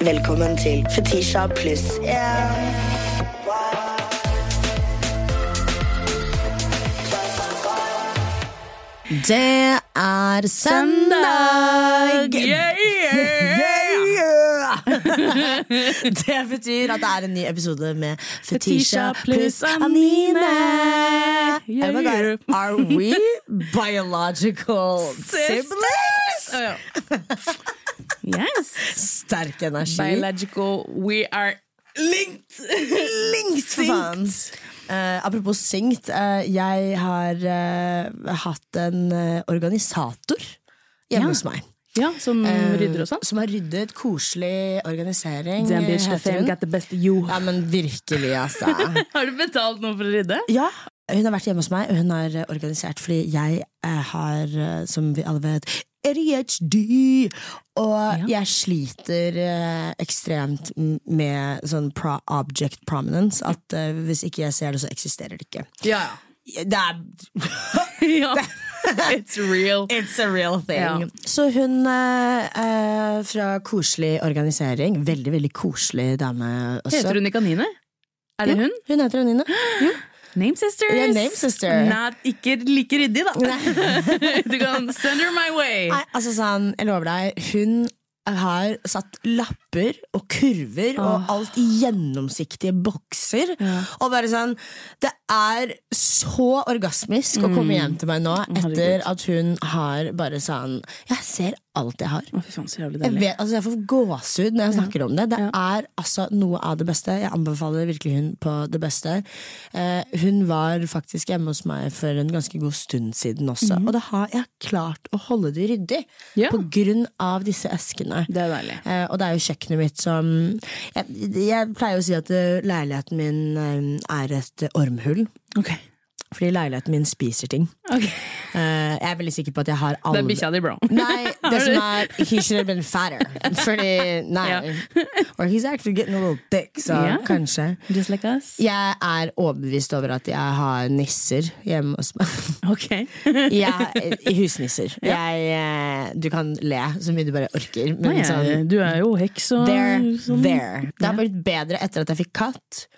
Velkommen til Fetisha pluss én. Det er søndag! Det betyr at det er en ny episode med Fetisha pluss Anine. Oh my God. Are we biological siblings? Oh, ja. Yes. Sterk energi. Biological, we are linked! For faen. Eh, apropos syngt, eh, jeg har eh, hatt en eh, organisator hjemme Ja. hos meg. Ja, som Eh, rydder og sånn. Som har ryddet koselig organisering. Den eh, bitch, the heter fame hun. got the best of you. Ja, men virkelig, altså. Har du betalt noen for å rydde? ja. Hun har vært hjemme hos meg, og hun har eh, organisert fordi jeg eh, har, eh, som vi alle vet, ADHD! Og jeg sliter eh, ekstremt m- med sånn pro object prominence. At eh, hvis ikke jeg ser det, så eksisterer det ikke. Ja. Det er ja. It's real. It's a real thing. Ja. Så hun eh, eh, fra koselig organisering, veldig, veldig koselig dame også. Heter hun ikke Anine? Er det Ja, hun? Hun heter Anine. Name sisters. Ja, name sister. Not, ikke like ryddig, da. du kan send her my way. Nei, altså sånn, jeg lover deg, hun har satt lapper og kurver og alt i gjennomsiktige bokser. Og bare sånn Det er så orgasmisk Mm. å komme hjem til meg nå etter herregud. at hun har bare sånn Jeg ser alt jeg har. Å, fy faen, så jævlig Jeg, deilig. vet, altså jeg får gåsehud når jeg snakker om det. Det er altså noe av det beste. Jeg anbefaler virkelig hun på det beste. Eh, hun var faktisk hjemme hos meg for en ganske god stund siden også. Og da har jeg klart å holde det ryddig Mhm. Ja. på grunn av disse eskene. Det er deilig. Eh, og det er jo kjøkkenet mitt som Jeg, jeg pleier å si at eh, leiligheten min eh, er et ormhull. Ok. Fordi leiligheten min spiser ting. Ok. Eh, jeg er veldig sikker på at jeg har alle Det er bikkja di, bro. Nei, det som er He should have been fatter. Fordi, nei. Ja. Or he's actually getting a little thick, så Ja. kanskje. Just like us. Jeg er overbevist over at jeg har nisser hjemme hos meg. Ok. Jeg, husnisser. Jeg, eh, du kan le så mye du bare orker, men Nei, eh, sånn du er jo heks og They're sånn. there. Det har blitt bedre etter at jeg fikk katt.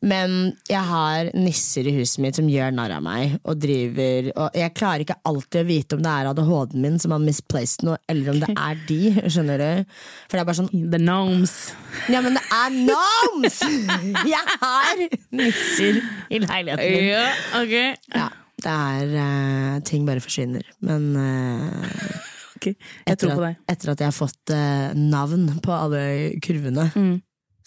Men jeg har nisser i huset mitt som gjør narr av meg. Og driver Og jeg klarer ikke alltid å vite om det er ADHD-en min som har misplaced noe, eller om det er de. Skjønner du? For det er bare sånn The gnomes. Ja, men det er noms! Jeg har nisser i leiligheten min. Ja, ok. Ja, det er eh, Ting bare forsvinner. Men eh, Ok, Jeg etter tror på at, deg. etter at jeg har fått eh, navn på alle kurvene,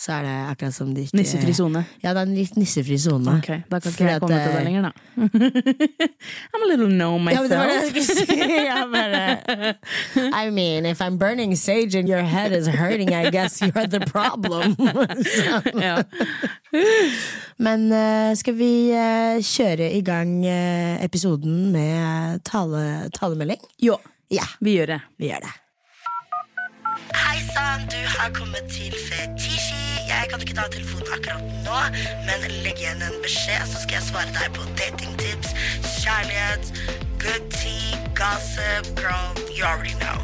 så er det akkurat som de ikke Mm. Nissefri sone. Ja, det er en litt nissefri sone. Ok, Da kan Fordi ikke jeg komme at, til deg eh, lenger, da. I'm a little gnome Ja, men det var det myself. jeg skulle si. Jeg bare, I mean, if I'm burning sage and your head is hurting, I guess you're the problem. Ja, Men eh, skal vi eh, kjøre i gang eh, episoden med tale, talemelding? Jo, Ja, vi gjør det. vi gjør det. Hei sann, du har kommet til Fetishi. Jeg kan ikke ta telefonen akkurat nå, men legg igjen en beskjed, så skal jeg svare deg på datingtips, kjærlighet, good tea, gossip, girl, you already know.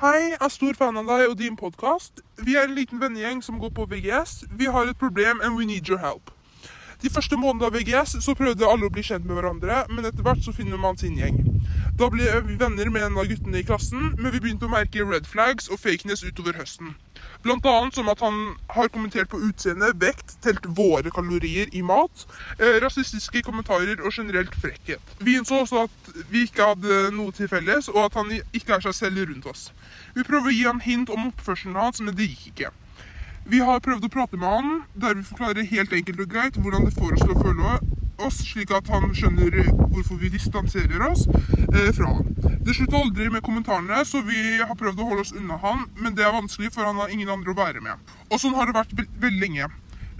Hei, jeg er stor fan av deg og din podkast. Vi er en liten vennegjeng som går på VGS. Vi har et problem, and we need your help. De første månedene av VGS så prøvde alle å bli kjent med hverandre, men etter hvert så finner man sin gjeng. Da ble vi venner med en av guttene i klassen, men vi begynte å merke red flags og fakeness utover høsten. Blant annet som at han har kommentert på utseende, vekt, telt våre kalorier i mat, eh, rasistiske kommentarer og generelt frekkhet. Vi innså også at vi ikke hadde noe til felles, og at han ikke er seg selv rundt oss. Vi prøver å gi ham hint om oppførselen hans, men det gikk ikke. Vi har prøvd å prate med han, der vi forklarer helt enkelt og greit hvordan det får oss til å føle oss, slik at han skjønner hvorfor vi distanserer oss eh, fra han. Det slutter aldri med kommentarene, så vi har prøvd å holde oss unna han, men det er vanskelig, for han har ingen andre å være med. Og sånn har det vært ve- veldig lenge.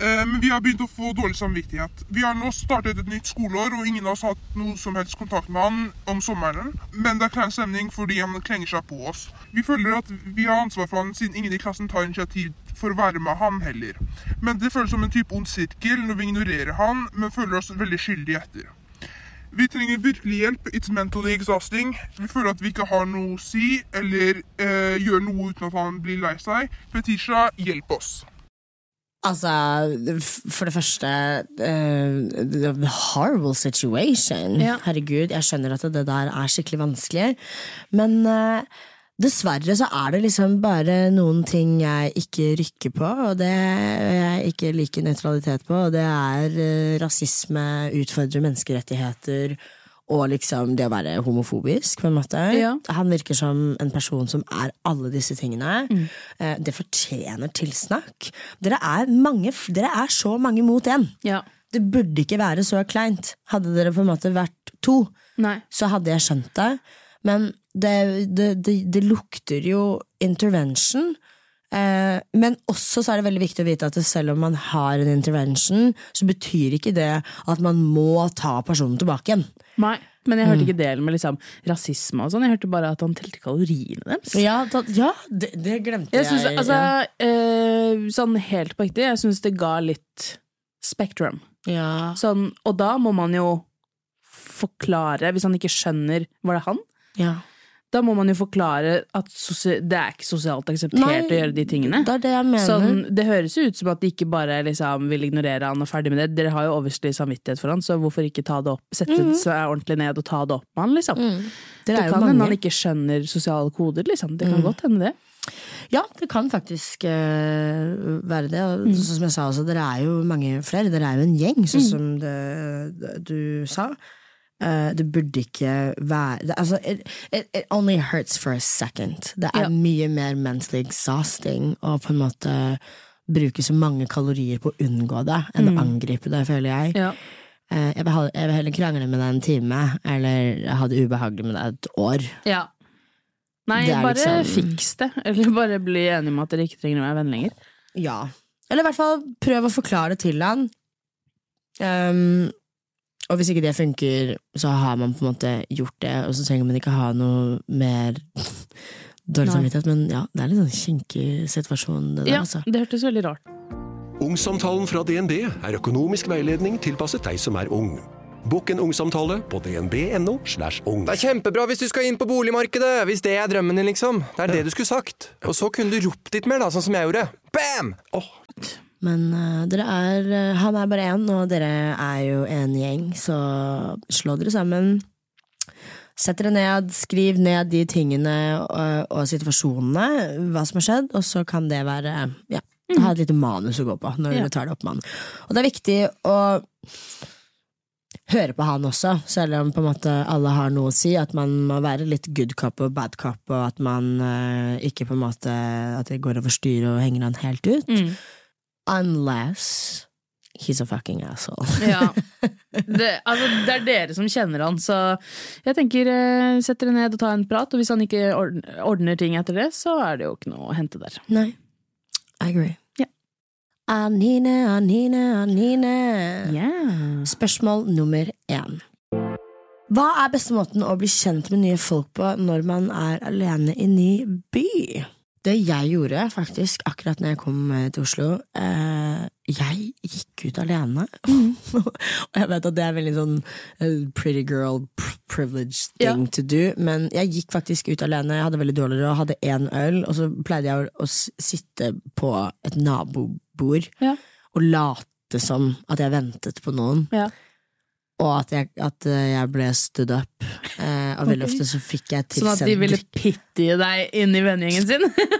Eh, Men vi har begynt å få dårlig samvittighet. Vi har nå startet et nytt skoleår, og ingen av oss har hatt noe som helst kontakt med han om sommeren. Men det er klein stemning fordi han klenger seg på oss. Vi føler at vi har ansvar for han, siden ingen i klassen tar initiativ for å være med han heller. Men det føles som en type ond sirkel når vi ignorerer han, men føler oss veldig skyldige etter. Vi trenger virkelig hjelp. It's mentally exhausting. Vi føler at vi ikke har noe å si, eller eh, gjør noe uten at han blir lei seg. Fetisha, hjelp oss. Altså, f- for det første eh, the Horrible situation. Ja. Herregud, jeg skjønner at det der er skikkelig vanskelig. Men eh, dessverre så er det liksom bare noen ting jeg ikke rykker på, og det jeg ikke liker nøytralitet på, og det er eh, rasisme, utfordre menneskerettigheter. Og liksom det å være homofobisk, på en måte. Ja. Han virker som en person som er alle disse tingene. Eh, Det fortjener tilsnakk. Dere er, mange, f- dere er så mange mot én. Ja. Det burde ikke være så kleint. Hadde dere på en måte vært to, Nei. så hadde jeg skjønt det. Men det, det, det, det lukter jo intervention. Eh, men også så er det veldig viktig å vite at selv om man har en intervention, så betyr ikke det at man må ta personen tilbake igjen. Nei. Men jeg hørte ikke delen med liksom, rasisme og sånn. Jeg hørte bare at han telte kaloriene deres. Ja, da, ja det, det glemte jeg. Jeg synes, altså, eh, sånn helt på ekte, jeg syns det ga litt spektrum. ja. Sånn, og da må man jo forklare, hvis han ikke skjønner Var det han? Ja. Da må man jo forklare at sosia- det er ikke sosialt akseptert Nei, å gjøre de tingene. Det er det jeg mener. Sånn, det høres jo ut som at de ikke bare liksom, vil ignorere han og ferdig med det. Dere har jo overstyrt samvittighet for han, så hvorfor ikke ta det opp, sette seg ordentlig ned og ta det opp med han, liksom. Det, Dere er jo kan hende mange. han ikke skjønner sosiale koder, liksom. Det kan godt hende det. Ja, det kan faktisk eh, være det. Mm. Og så- som jeg sa også, dere er jo mange flere. Dere er jo en gjeng, sånn som det, det du sa. Eh, det burde ikke være det, altså, it, it, it only hurts for a second. Det er Ja. mye mer mentally exhausting å på en måte bruke så mange kalorier på å unngå det enn å angripe det, føler jeg. Mm. Ja. Eh, jeg, vil ha, jeg vil heller krangle med deg en time eller ha det ubehagelig med deg et år. Ja. Nei, Det er bare liksom- fiks det. Eller bare bli enige om at dere ikke trenger å være venner lenger. Ja. Eller i hvert fall prøv å forklare det til han. Ehm, og hvis ikke det funker, så har man på en måte gjort det, og så trenger man ikke ha noe mer dårlig Nei. samvittighet. Men ja, det er litt sånn kinkig situasjon, det der, Ja, altså. det hørtes veldig rart Ungsamtalen fra DNB er økonomisk veiledning tilpasset deg som er ung. Bokk en ungsamtale på dnb.no. slash ung. Det er kjempebra hvis du skal inn på boligmarkedet! Hvis det er drømmen din, liksom. Det er det du skulle sagt. Og så kunne du ropt litt mer, da, sånn som jeg gjorde. Bam! Men eh, dere er eh, Han er bare én, og dere er jo en gjeng, så slå dere sammen. Sett dere ned, skriv ned de tingene eh, og, og situasjonene, hva som har skjedd, og så kan det være Ja, ha et lite manus å gå på når Ja. dere tar det opp med han. Og det er viktig å høre på han også, selv om på en måte alle har noe å si, at man må være litt good cop og bad cop, og at man eh, ikke på en måte At det går over styr og henger han helt ut. Mm. Unless he's a fucking asshole. Ja. Det, altså, det er dere som kjenner han, så jeg tenker eh, sett dere ned og ta en prat. Og hvis han ikke ordn- ordner ting etter det, så er det jo ikke noe å hente der. Nei. I agree. Ja. Anine, Anine, Anine. Yeah. Spørsmål nummer én. Hva er beste måten å bli kjent med nye folk på når man er alene i ny by? Det jeg gjorde faktisk akkurat når jeg kom eh, til Oslo eh, Jeg gikk ut alene. Og jeg vet at det er veldig sånn eh, pretty girl pr privilege thing to do, men jeg gikk faktisk ut alene. Jeg hadde veldig dårlig råd, hadde én øl, og så pleide jeg å, å s- sitte på et nabobord Ja. og late som at jeg ventet på noen. Ja. Og at jeg, at eh, jeg ble stood up. Eh, og veldig Ok. ofte så fikk jeg Sånn tilsendt at de ville pittye deg inn i vennegjengen sin.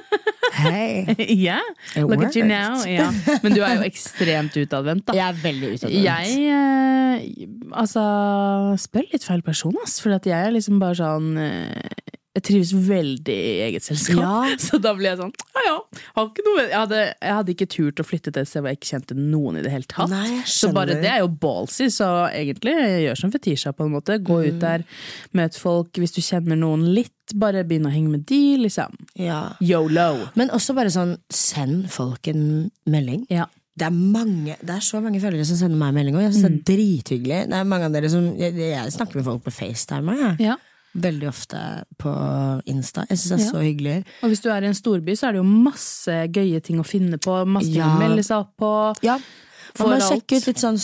Hei, yeah. it Look at you worked. now. Ja. Men du er jo ekstremt utadvendt, da. Jeg er veldig utadvendt. Jeg eh, altså, spør litt feil person, ass. For at jeg er liksom bare sånn eh, Jeg trives veldig i eget selskap. Ja. Så da ble jeg sånn ja ja. Har ikke noe, jeg, hadde, jeg hadde ikke turt å flytte til et sted hvor jeg ikke kjente noen i det hele tatt. Nei, jeg så bare skjønner. det er jo ballsy, så egentlig jeg gjør som Fetisha på en måte. Gå ut der, møt folk. Hvis du kjenner noen litt, bare begynn å henge med de, liksom. Ja. Yolo. Men også bare sånn, send folk en melding. Ja. Det er, mange, det er så mange følgere som sender meg melding, og jeg synes Mm. det er drithyggelig. Det er mange av dere som, jeg, jeg snakker med folk på FaceTime, jeg. ja. Veldig ofte på Insta. Jeg synes det er Ja. så hyggelig. Og hvis du er i en storby, så er det jo masse gøye ting å finne på. Masse ting Ja. å melde seg opp på. Ja. Man får må alt. sjekke ut litt sånn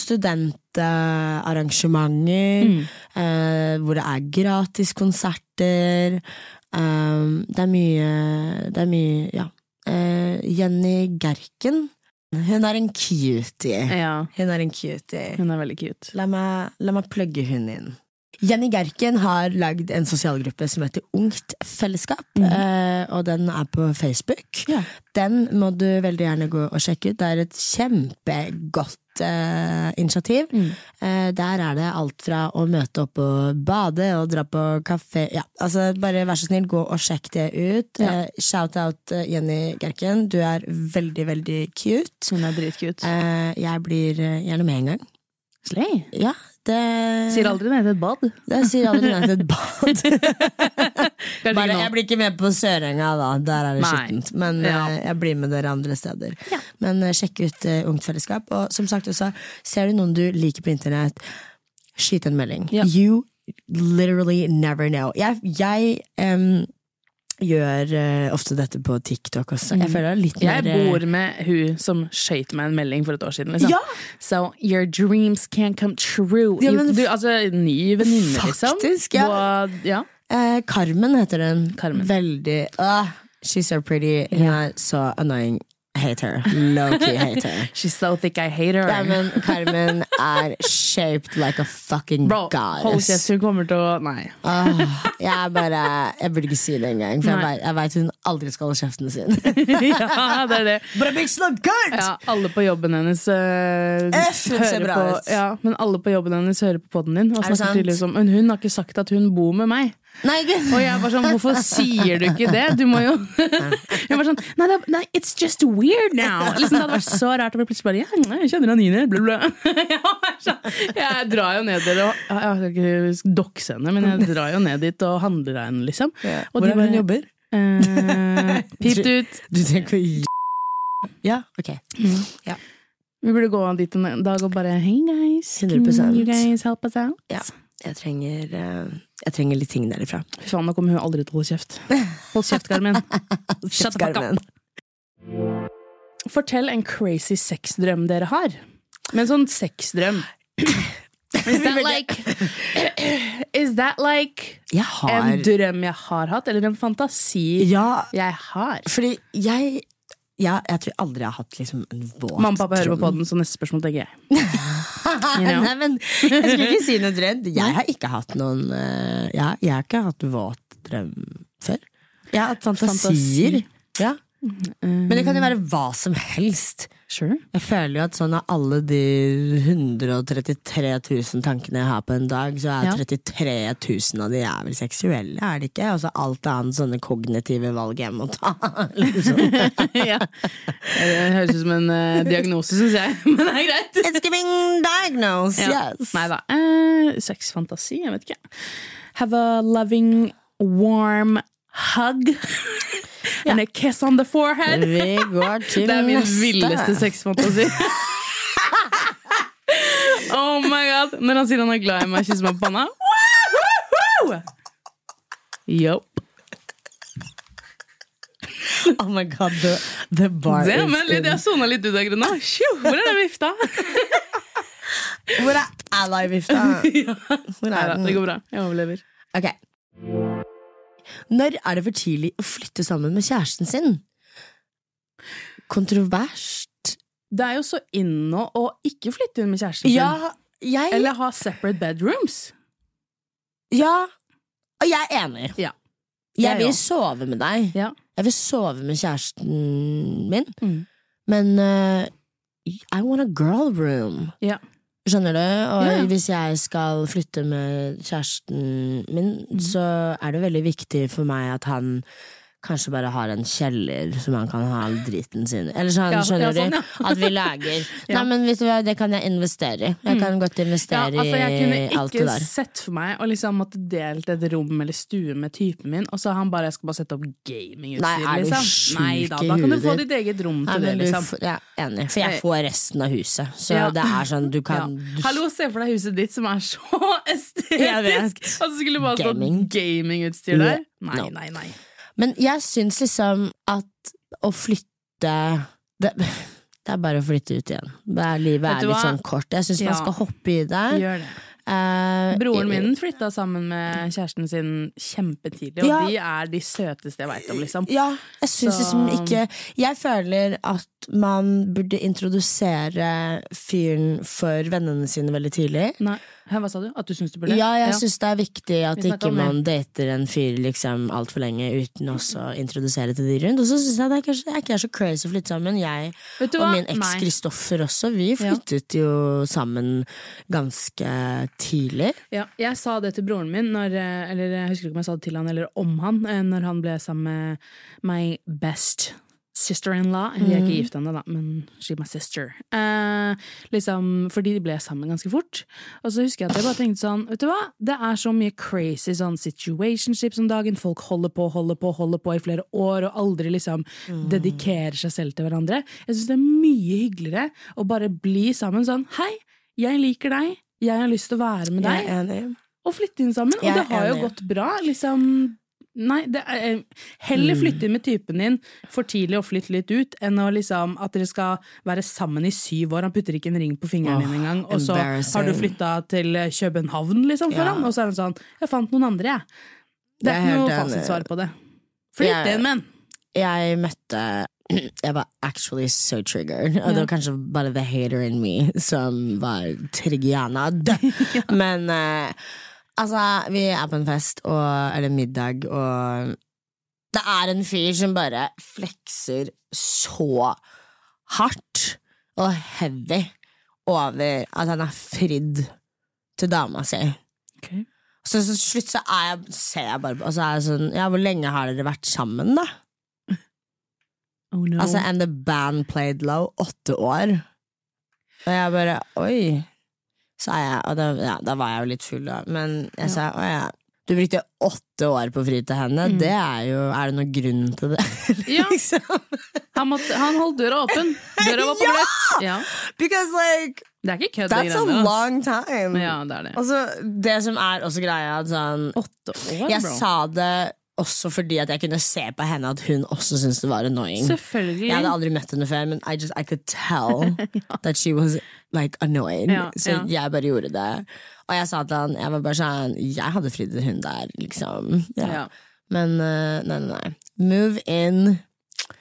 studentarrangementer, eh, hvor det er gratis konserter. Um, det er mye Det er mye, ja. Eh, Jenny Gerken. Hun er en cutie. Ja, Hun er en cutie. hun er veldig cute. La meg, la meg plugge hun inn. Jenny Gerken har lagd en sosialgruppe som heter Ungt fellesskap, eh, og den er på Facebook. Mhm. Ja. Den må du veldig gjerne gå og sjekke ut. Det er et kjempegodt eh, initiativ. Mm. Eh, der er det alt fra å møte opp og bade og dra på kafé ja, altså Bare vær så snill, gå og sjekk det ut. Ja. Eh, Shout-out eh, Jenny Gerken. Du er veldig, veldig cute. Hun er dritcute. Eh, jeg blir eh, gjerne med en gang. Slay. Ja, det Sier aldri nei til et bad. Det sier aldri nei til et bad. Kanskje Bare, ikke nå. jeg blir ikke med på Sørenga, da. Der er det Nei. skittent. Men Ja. eh, jeg blir med dere andre steder. Men eh, sjekk ut eh, Ungt fellesskap. Og som sagt også, ser du noen du liker på internett, skyt en melding. Ja. You literally never know. Jeg, jeg em, gjør eh, ofte dette på TikTok også. Jeg føler det er litt Mm. mer Jeg eh, sånn. bor med hun som skøyt meg en melding for et år siden. Liksom. Ja! So your dreams can come true. Ja, men du, altså, ny venninne, liksom. Faktisk, ja. Og, ja. Eh, Carmen heter den. Carmen. Veldig ah, She's so pretty. Hun er så annoying. Hate her. Low-key hate her. She's so thick I hate her. Ja, men Carmen er shaped like a fucking Bro, hold kjeft, goddess. hun kommer til å Nei. Åh, jeg bare Jeg burde ikke si det engang, for jeg Nei. vet- jeg veit hun aldri skal holde kjeften sin. ja, det er det. But it makes no good! Ja, alle på jobben hennes eh, F, hun ser bra på, ut. ja, Men alle på jobben hennes hører på podden din. Og Er det snakker tydelig sant? som, men hun har ikke sagt at hun bor med meg. Nei, Og ikke. jeg var sånn, hvorfor sier du ikke det? Du må jo Jeg var sånn, nei, det er- nei it's just weird now. Liksom, det hadde vært så rart å bli plutselig bare Ja, nei, jeg kjenner han Ine, bla, bla. Jeg, var sånn, jeg drar jo ned der og Jeg skal ikke dokse henne, men jeg drar jo ned dit og handler av henne, liksom. Og de Hvordan hun bare, jobber? eh, Pipt ut. Du tenker å gi Ja, ok. Vi burde gå dit en dag og bare Hey guys, can 100%. you guys help us out? Ja. Jeg trenger, eh, jeg trenger litt ting derifra. Fy faen, nå kommer hun aldri til å holde kjeft. Hold kjeft, Carmen. Shut the fuck up. Carmen. Fortell en crazy sexdrøm dere har. Men sånn sexdrøm. Is that like Is that like Jeg en har drøm jeg har hatt, eller en fantasi Ja, jeg har? fordi jeg ja, Jeg tror aldri jeg har hatt liksom en våt Mamma og pappa hører på drøm. podden, så neste spørsmål tenker jeg. know? Nei, men jeg skulle ikke si noe drøm. Jeg har ikke hatt noen eh, ja, Jeg har ikke hatt våt drøm før. Jeg har hatt fantasier. Mm. Fantasi. Ja. Men det kan jo være hva som helst. Sure. Jeg føler jo at sånn av alle de 133 000 tankene jeg har på en dag, så er Ja. 33 000 av de er vel seksuelle, er det ikke? Og så alt annet sånne kognitive valg jeg må ta. Liksom. ja. Det høres ut som en eh, diagnose, syns jeg, men det er greit. It's giving diagnose, yes! Nei da. Eh, Sexfantasi, jeg vet ikke. Have a loving, warm hug. And a kiss on the forehead. Vi går til Det er min neste. villeste sexfantasi. oh my god. Når han sier han er glad i meg, kysser meg på panna. Woohoo! Yo. Oh my god, the, the bar Det, is men litt, in. jeg sona litt ut av grunna. Tjo, Hvor er den vifta? Hvor er ally-vifta? Hvor Nei er da, det den? går bra. Jeg overlever. Ok. Når er det for tidlig å flytte sammen med kjæresten sin? Kontroverst. Det er jo så in nå å ikke flytte inn med kjæresten sin. jeg Eller ha separate bedrooms. Ja. Og jeg er enig. Ja. Jeg Jeg vil også. sove med deg. Ja. Jeg vil sove med kjæresten min. Mm. Men eh, I want a girl room. Ja. Skjønner du? Og Ja, ja. hvis jeg skal flytte med kjæresten min, Mhm. så er det veldig viktig for meg at han kanskje bare har en kjeller som han kan ha all driten sin i. Eller sånn, Ja, skjønner ja, sånn, du? ja. At vi lager. Ja. Nei, men vet du hva, det kan jeg investere i. Jeg kan godt Ja, investere altså Jeg kunne i alt det ikke der. sett for meg å liksom måtte delt et rom eller stue med typen min, og så har han bare 'jeg skal bare sette opp Nei, gamingutstyr'. er du Liksom. sjuk Nei da, i da kan du huet få ditt? ditt eget rom Nei, til det. men du, liksom f- ja, enig. For jeg Nei. får resten av huset. Så Ja. det er sånn, du kan ja. Hallo, se for deg huset ditt som er så Jeg estetisk! vet. Og så skulle det bare stått Gaming. gamingutstyr der? Nei, No. nei, nei. Men jeg syns liksom at å flytte det, Det er bare å flytte ut igjen. Det er, livet Vet er du litt hva? sånn kort. Jeg syns Ja. man skal hoppe i det. Gjør det. Eh, Broren min flytta sammen med kjæresten sin kjempetidlig, og Ja. de er de søteste jeg veit om, liksom. Ja, jeg syns Så- liksom ikke Jeg føler at man burde introdusere fyren for vennene sine veldig tidlig. Nei, hæ, hva sa du? At du syns du burde? Ja, jeg syns det er viktig at Vi snakker ikke om man dater en fyr liksom altfor lenge uten også å introdusere til de rundt. Og så syns jeg det er kanskje det er ikke så crazy å flytte sammen. Jeg Vet du og hva? min eks Nei. Kristoffer også, vi flyttet jo sammen ganske tidlig. Ja, jeg sa det til broren min, når, eh, eller jeg husker ikke om jeg sa det til han eller om han, eh, når han ble sammen med my best sister-in-law. Vi er ikke gift ennå, da, men she my sister. Eh, liksom, fordi de ble sammen ganske fort. Og så husker jeg at jeg bare tenkte sånn, vet du hva, det er så mye crazy sånn situationships om dagen. Folk holder på, holder på, holder på i flere år, og aldri liksom dedikerer seg selv til hverandre. Jeg syns det er mye hyggeligere å bare bli sammen sånn, hei, jeg liker deg. Jeg har lyst til å være med deg Jeg er enig. og flytte inn sammen. Og Jeg er det har jo enig. gått bra. Liksom, nei, det er, eh, Mm. heller flytte inn med typen din for tidlig og flytte litt ut, enn å liksom, at dere skal være sammen i syv år. Han putter ikke en ring på Åh, fingeren din engang, og så har du embarrassing. flytta til eh, København liksom, for Ja. ham, og så er han sånn 'Jeg fant noen andre, jeg'. Det Jeg er er ikke helt noe enig. fasitsvar på det. Jeg- Flytt inn, men! jeg møtte Jeg var actually so triggered. Og det var kanskje bare the hater in me som var triggianad. Men eh, altså, vi er på en fest, og, eller middag, og det er en fyr som bare flekser så hardt og heavy over at han er fridd til dama si. Så til slutt så er jeg, ser jeg bare på Og så er jeg sånn Ja, hvor lenge har dere vært sammen, da? Oh no. Altså, And the band played low. Åtte år. Og jeg bare Oi. Sa jeg. Og da, ja, da var jeg jo litt full, da. Men jeg sa å ja. Du brukte åtte år på å fri til henne. Mm. Det er jo Er det noen grunn til det? Ja. liksom. han, måtte, han holdt døra åpen. Døra var på Ja! gløtt. Ja. Because like Det er ikke kødd, de That's a greiene. ass. long Altså, time. Ja, det er det. Og så det som er også greia, at sånn Åtte år, Jeg bro. sa det også fordi at jeg kunne se på henne at hun også syntes det var annoying. Selvfølgelig. Jeg hadde aldri møtt henne før, men I, just, I could tell that she was like annoyed. Ja, så ja. jeg bare gjorde det. Og jeg sa til han Jeg var bare sånn Jeg hadde fridd til hun der, liksom. Ja. Ja. Men eh, nei, nei, nei. Move in,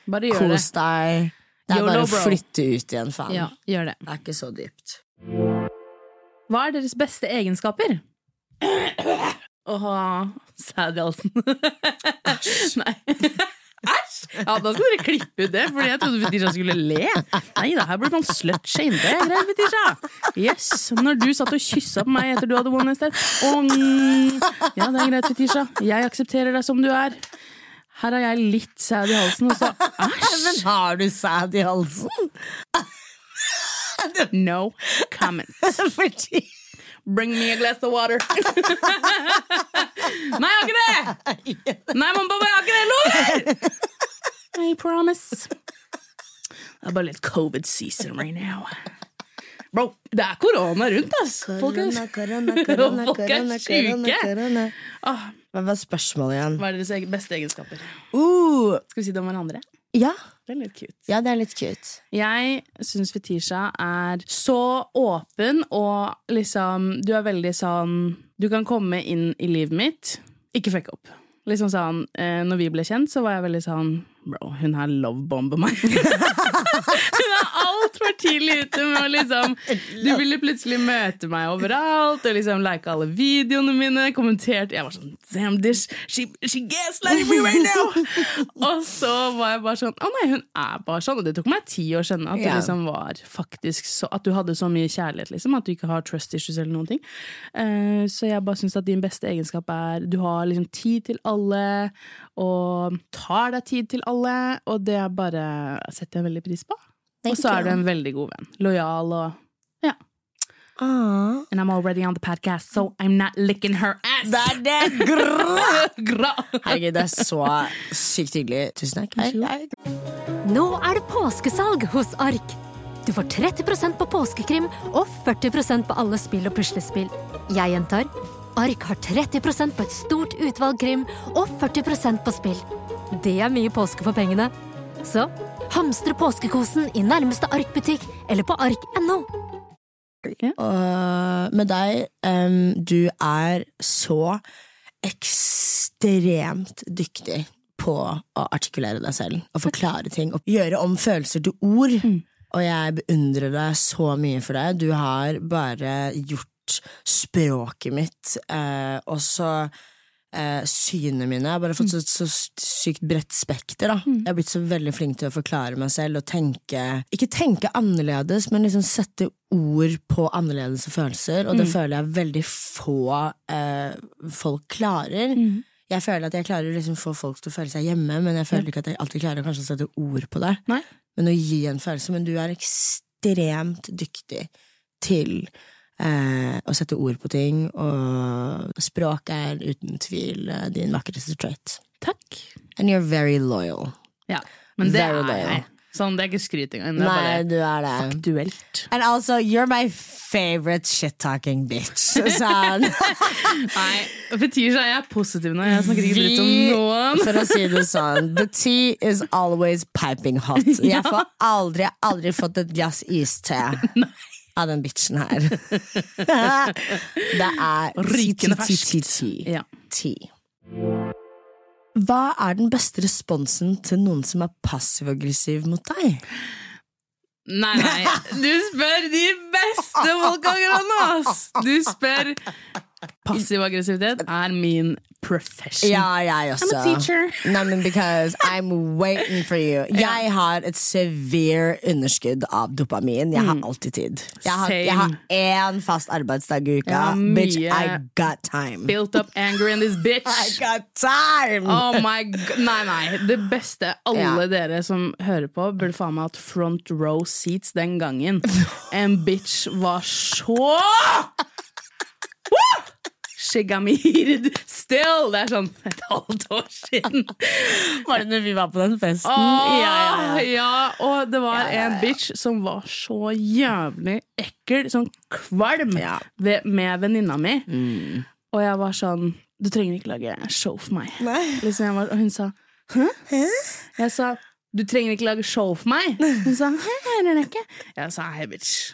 Bare gjør det. kos deg. Det er YOLO, bare å bro. flytte ut igjen, faen. Ja, gjør det. Det er ikke så dypt. Hva er deres beste egenskaper? Åh, sæd i halsen. Æsj. Nei. Æsj! Ja, da skal dere klippe ut det, Fordi jeg trodde Fetisha skulle le. Nei da, her blir man slutshamed. Det er greit, Fetisha. Yes. Når du satt og kyssa på meg etter du hadde one night stand. Åh, mm. Ja, det er greit, Fetisha. Jeg aksepterer deg som du er. Her har jeg litt sæd i halsen, og så æsj! Men har du sæd i halsen? No comment. Fordi Bring me a glass of water. Nei, jeg har ikke det! Nei, mamma og pappa, jeg har ikke det! Lover! I promise. Det er bare litt covid season right now. Bro, det er korona rundt, ass. Folk er, Korona, korona, korona, Folk er korona, korona, syke. korona. Åh, Hva var spørsmålet igjen? hva er deres egen- beste egenskaper? Uh, Skal vi si det om hverandre? ja. Det er litt cute. ja, det er litt cute. Jeg syns Fetisha er så åpen og liksom Du er veldig sånn Du kan komme inn i livet mitt, ikke fuck opp. Liksom sånn, eh, når vi ble kjent, så var jeg veldig sånn Bro, hun her lovebomber meg. hun er altfor tidlig ute med å liksom Du ville plutselig møte meg overalt og liksom like alle videoene mine, kommentert Jeg var sånn Damn this, she, she gaslighting me right now! og så var jeg bare sånn Å nei, hun er bare sånn. Og det tok meg ti år å skjønne at Ja. det liksom var faktisk så, At du hadde så mye kjærlighet, liksom. At du ikke har trust issues eller noen ting. Eh, så jeg bare syns at din beste egenskap er du har liksom tid til alle, og tar deg tid til alle, og det er bare setter jeg veldig pris på. Og så er du en veldig god venn. Lojal og ja. And I'm already on the podcast, so I'm not licking her ass! Det er det! Grrr! Gra. Herregud, det er så sykt hyggelig. Tusen takk. Hei, hei. Nå er det påskesalg hos Ark. Du får 30 på påskekrim og 40 på alle spill og puslespill. Jeg gjentar Ark har 30 på et stort utvalg krim og 40 på spill. Det er mye påske for pengene. Så Hamstre påskekosen i nærmeste Ark-butikk eller på ark.no. Og med deg, em, du er så ekstremt dyktig på å artikulere deg selv og forklare ting og gjøre om følelser til ord. Og jeg beundrer deg så mye for det. Du har bare gjort språket mitt, eh, og så eh, synene mine. Jeg har bare fått så, så sykt bredt spekter. da Jeg har blitt så veldig flink til å forklare meg selv og tenke Ikke tenke annerledes, men liksom sette ord på annerledes følelser. Og det føler jeg veldig få eh, folk klarer. Jeg føler at jeg klarer å liksom få folk til å føle seg hjemme, men jeg føler ikke at jeg alltid klarer å kanskje sette ord på det. Nei. Men å gi en følelse. Men du er ekstremt dyktig til Eh, å sette ord på ting, og språk er uten tvil eh, din vakreste trait. Takk. And you're very loyal. Ja, men det Very er loyal. jeg. Sånn, det er ikke skryt engang. Det er Nei, bare du er det. duelt. And also, you're my favorite shit-talking bitch. Sånn. Nei, Fetisha, jeg er positiv nå. Jeg snakker ikke dritt om Vi- noen. For å si det sånn, the tea is always piping hot. Jeg får aldri, aldri fått et glass iste av den bitchen her. Det er Rykende ti, ti, ti, ferskt. ti, ti. Ja. ti. Hva er den beste responsen til noen som er passiv-aggressiv mot deg? Nei, nei. Du spør de beste folka akkurat nå! ass. Du spør Passiv aggressivitet er min profession. Ja, jeg også. I'm a teacher. Nei, men because I'm waiting for you. Jeg har et severe underskudd av dopamin. Jeg har alltid tid. Jeg har, jeg har Mm. Same. én fast arbeidsdag i uka. har Bitch, mye- I got time. Built up anger in this I bitch. got time! Oh my god, Nei, nei. Det beste alle Ja. dere som hører på, burde faen meg hatt front row seats den gangen. En bitch var så Woo! She got me heated still! Det er sånn et halvt år siden. Var det når vi var på den festen? Åh, Ja, ja, ja. og det var en bitch som var så jævlig ekkel, sånn kvalm, Ja. Mm. ved, med venninna mi. Og jeg var sånn Du trenger ikke lage show for meg. Liksom jeg var, og hun sa Hæ? Jeg sa du trenger ikke lage show for meg. Hun sa hei, jeg hører deg ikke. Jeg sa hei, bitch.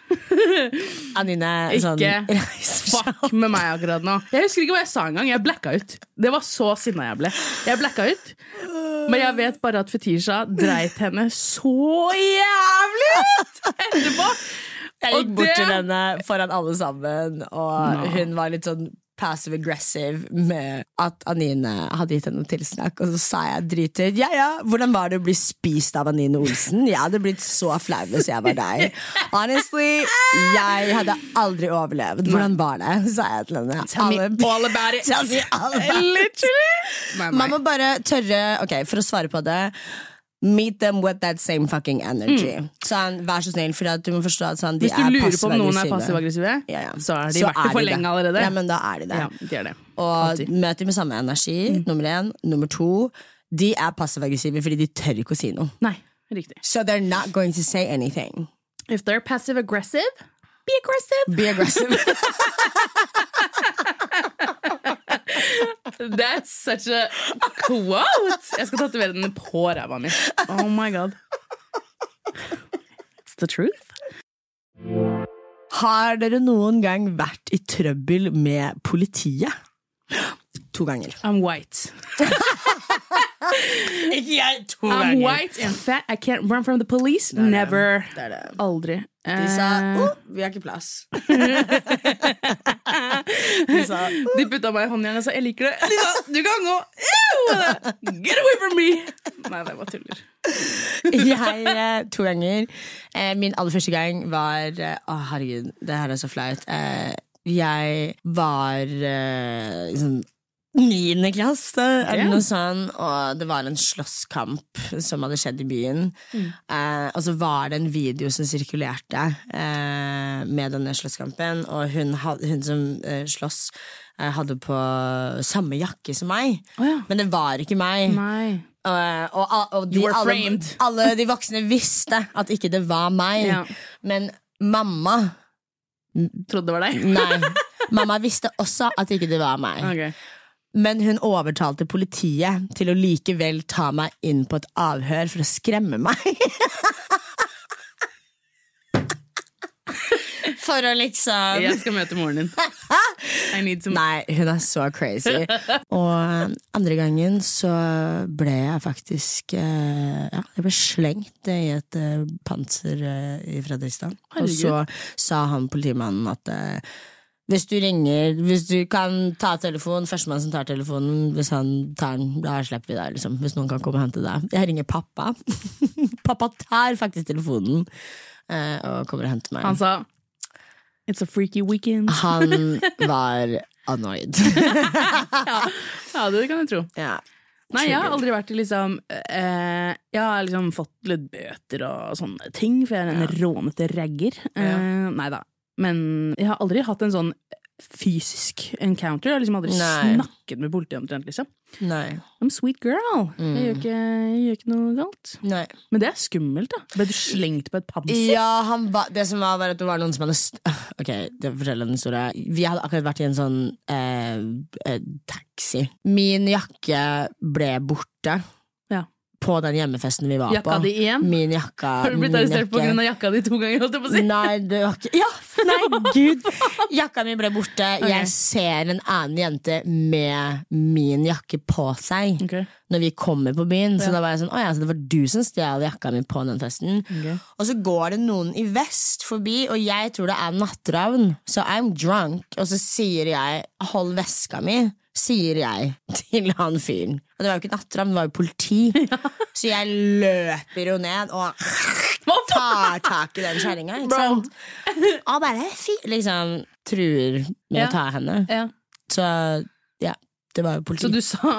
Anine, sånn Ikke fuck med meg akkurat nå. Jeg husker ikke hva jeg sa engang. Jeg blacka ut. Det var så sinna jeg ble. Jeg blacka ut. Men jeg vet bare at Fetisha dreit henne så jævlig ut etterpå. Jeg gikk Og bort det- til henne foran alle sammen, og hun var litt sånn passive aggressive med at Anine hadde gitt henne tilsnakk, og så sa jeg dritur. Ja ja, hvordan var det å bli spist av Anine Olsen? Jeg hadde blitt så flau hvis jeg var deg. Honestly, jeg hadde aldri overlevd. Hvordan var det? sa jeg til henne. Tell me all about it. Tell me all about it. Nei, nei. Man må bare tørre Ok, for å svare på det Meet them with that same fucking energy Sånn, vær så snill For at du må forstå at sånn, de Mm. Hvis du er lurer på om noen er passiv-aggressive. passiv-aggressive, Ja, ja. så er de vært det for det. lenge allerede. Ja, men da er de det Ja, de er det. Og Alltid. Mm. møt dem med samme energi Nummer en Nummer to De er passiv-aggressive fordi de tør ikke å si noe Nei, riktig. So they're not going to say anything If they're passive aggressive, be aggressive. Be aggressive That's such a quote. Jeg skal tatovere den på ræva mi. Oh my god. It's the truth. Har dere noen gang vært i trøbbel med politiet? To ganger I'm white. Ikke jeg, to I'm white and fat. I can't run from the police. Never. Det er det Aldri. De sa Eh, «Å, vi har ikke plass. sa, De putta meg i håndjernet og sa 'jeg liker det'. De sa 'du kan gå'. Ew! Get away from me! Nei, det var tuller. Jeg eh, to ganger. Eh, min aller første gang var eh, Å, herregud, det her er så flaut. Eh, jeg var eh, liksom niende klasse, eller noe sånt, og det var en slåsskamp som hadde skjedd i byen. Mm. Eh, og så var det en video som sirkulerte eh, med denne slåsskampen, og hun, had, hun som eh, slåss, eh, hadde på samme jakke som meg, Å men det var ikke meg. Nei. Eh, og, og de, You were alle, framed. alle de voksne visste at ikke det var meg. Ja. Men mamma Trodde det var deg. Nei. Mamma visste også at ikke det var meg. Ok. Men hun overtalte politiet til å likevel ta meg inn på et avhør for å skremme meg. For å liksom Jeg skal møte moren din. I need some Nei, hun er så crazy. Og um, andre gangen så ble jeg faktisk eh, Ja, jeg ble slengt i et eh, panser eh, i Fredrikstad. Og så sa han politimannen at eh, hvis du ringer, hvis du kan ta telefonen, førstemann som tar telefonen, hvis han tar den, da slipper vi deg, liksom. Hvis noen kan komme og hente deg. Jeg ringer pappa. pappa tar faktisk telefonen eh, og kommer og henter meg. Han sa It's a freaky weekend. han var annoyed. Ja, det kan jeg tro. ja. Nei, jeg har aldri vært i liksom eh, Jeg har liksom fått litt bøter og sånne ting, for jeg er en rånete ragger. Eh, nei da. Men jeg har aldri hatt en sånn fysisk encounter. Jeg har liksom aldri Nei. snakket med politiet omtrent, liksom. Nei. I'm sweet girl. Mm. Jeg, gjør ikke, jeg gjør ikke noe galt. Nei. Men det er skummelt, da. Ble du slengt på et panser? Ja, han ba, det som var, var at det var noen som hadde st Ok, det forteller en historie. Vi hadde akkurat vært i en sånn eh, eh, taxi. Min jakke ble borte Ja. på den hjemmefesten vi var på. Jakka di igjen? Min jakka. Har du blitt min arrestert på jakke. grunn av jakka di to ganger? Holdt jeg på å si? Nei, det var ikke Ja, nei, gud! Jakka mi ble borte. Ok. Jeg ser en annen jente med min jakke på seg Ok. når vi kommer på byen. Så da var jeg sånn, Å ja, så det var du som stjal jakka mi på den festen. Og så går det noen i vest forbi, og jeg tror det er natteravn. Så I'm drunk, og så sier jeg 'hold veska mi'. Sier jeg til han fyren. Og det var jo ikke natteravn, det var jo politi. Så jeg løper jo ned og tar tak i den kjerringa, ikke sant? Og bare fy, liksom truer med Ja. å ta henne. Ja. Så ja, det var jo politi. Så du sa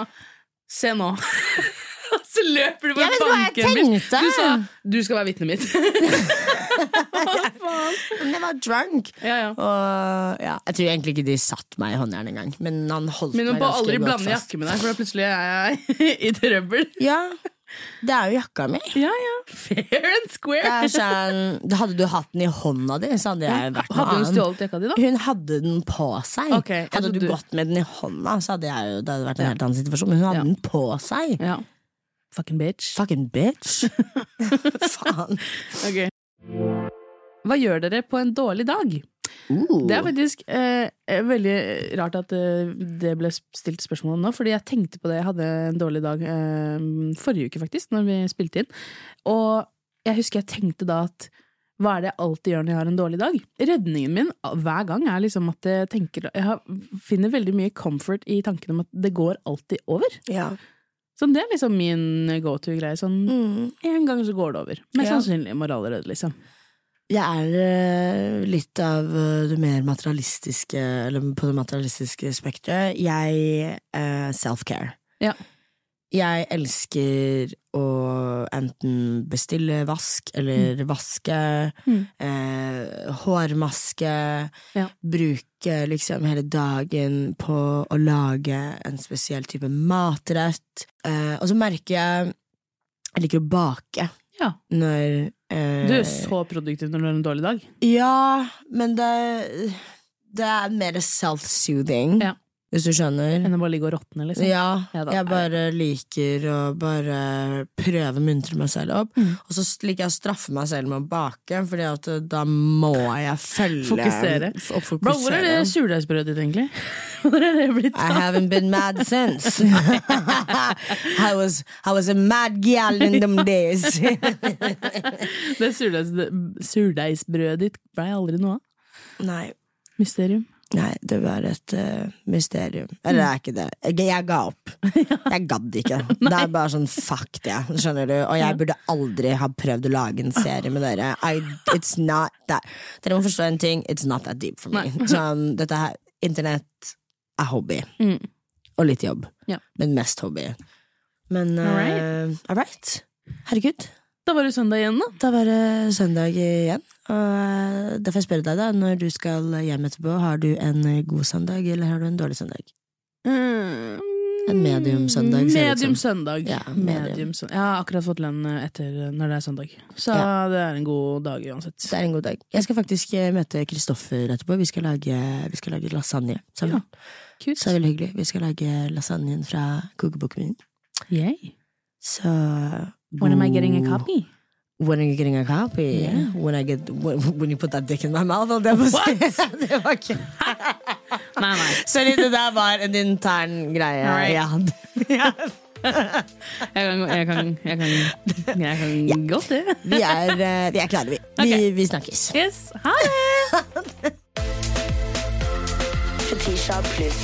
'se nå'. Og så løper du Jeg bare vet hva jeg banken min. tenkte. Du sa 'du skal være vitnet mitt'. Hva faen? Men jeg var drunk. Ja, ja. Og ja, jeg tror egentlig ikke de satt meg i håndjernet engang. Men han holdt Men du meg må ganske aldri godt blande fast. jakke med deg, for da plutselig er jeg i trøbbel. Ja, det er jo jakka mi. Ja, ja. Fair and Det square. er sånn, hadde du hatt den i hånda di, så hadde jeg vært noe Hadde hun annet. stjålet jakka di, da? Hun hadde den på seg. Ok, jeg hadde du trodde- gått med den i hånda, så hadde jeg jo, det hadde vært en helt annen situasjon. Men hun hadde Ja. den på seg. Ja. Fucking bitch. Fucking bitch. Faen. Ok. Hva gjør dere på en dårlig dag? Det er faktisk eh, veldig rart at eh, det ble stilt spørsmål om nå, fordi jeg tenkte på det. Jeg hadde en dårlig dag eh, forrige uke, faktisk, når vi spilte inn. Og jeg husker jeg tenkte da at hva er det jeg alltid gjør når jeg har en dårlig dag? Redningen min hver gang er liksom at jeg tenker Jeg har- finner veldig mye comfort i tanken om at det går alltid over. Ja. Så det er liksom min go to-greie. Sånn Mm. en gang så går det over. Mest Ja. sannsynlig moralredd, liksom. Jeg er eh, litt av eh, det mer materialistiske, eller på det materialistiske spekteret. Jeg eh, self-care. Ja. Jeg elsker å enten bestille vask eller vaske, Mm. eh, hårmaske, Ja. bruke liksom hele dagen på å lage en spesiell type matrett. Eh, og så merker jeg Jeg liker å bake Ja. når eh, Du er jo så produktiv når du har en dårlig dag. ja, men det, det er mer self-soothing, Ja. hvis du skjønner. Enn å bare ligge og råtne, liksom. Ja, Ja da. jeg bare liker å bare prøve å muntre meg selv opp. Mm. Og så liker jeg å straffe meg selv med å bake, Fordi at eh, da må jeg følge Fokusere. f- Og fokusere. Bro, hvor er det surdeigsbrødet ditt, egentlig? Hvor er det blitt I haven't been mad since. I, was, I was a mad gal in them days. Det surdeigs- surdeigsbrødet ditt ble aldri noe av. Nei. Mysterium. Nei, det var et eh, mysterium. Eller det er ikke det. Jeg, jeg ga opp. Jeg gadd ikke. Det er bare sånn fuck det, skjønner du. Og jeg burde aldri ha prøvd å lage en serie med dere. I, it's not that Dere må forstå en ting. It's not that deep for me. Sånn, dette her Internett er hobby. Mm. Og litt jobb. Ja. Men mest hobby. Men eh, Alright. all right. Herregud. Da var det søndag igjen, da. Da var det søndag igjen. Og eh, da får jeg spørre deg, da. Når du skal hjem etterpå, har du en god søndag, eller har du en dårlig søndag? En medium søndag, ser det ut som. Mm, Medium søndag. Ja, medium. medium søndag. Jeg har akkurat fått lønn eh, etter når det er søndag, så Ja. det er en god dag uansett. Det er en god dag. Jeg skal faktisk eh, møte Kristoffer etterpå. Vi skal lage, vi skal lage lasagne sammen. Kult. Så det er veldig hyggelig. Vi skal lage lasagnen fra kokeboken min. Yay. Så When am I getting a copy? When are you getting a copy? Yeah. When, I get, when, when you put that dick in my mouth? holdt jeg på å si. det var ikke Nei, nei. Sorry, det der var en intern greie. All right. jeg hadde. Jeg kan, jeg kan, jeg kan, jeg kan godt det. Vi, er, eh, vi er klare, vi. Vi, Ok. vi snakkes. Yes, ha det! Fetisha pluss.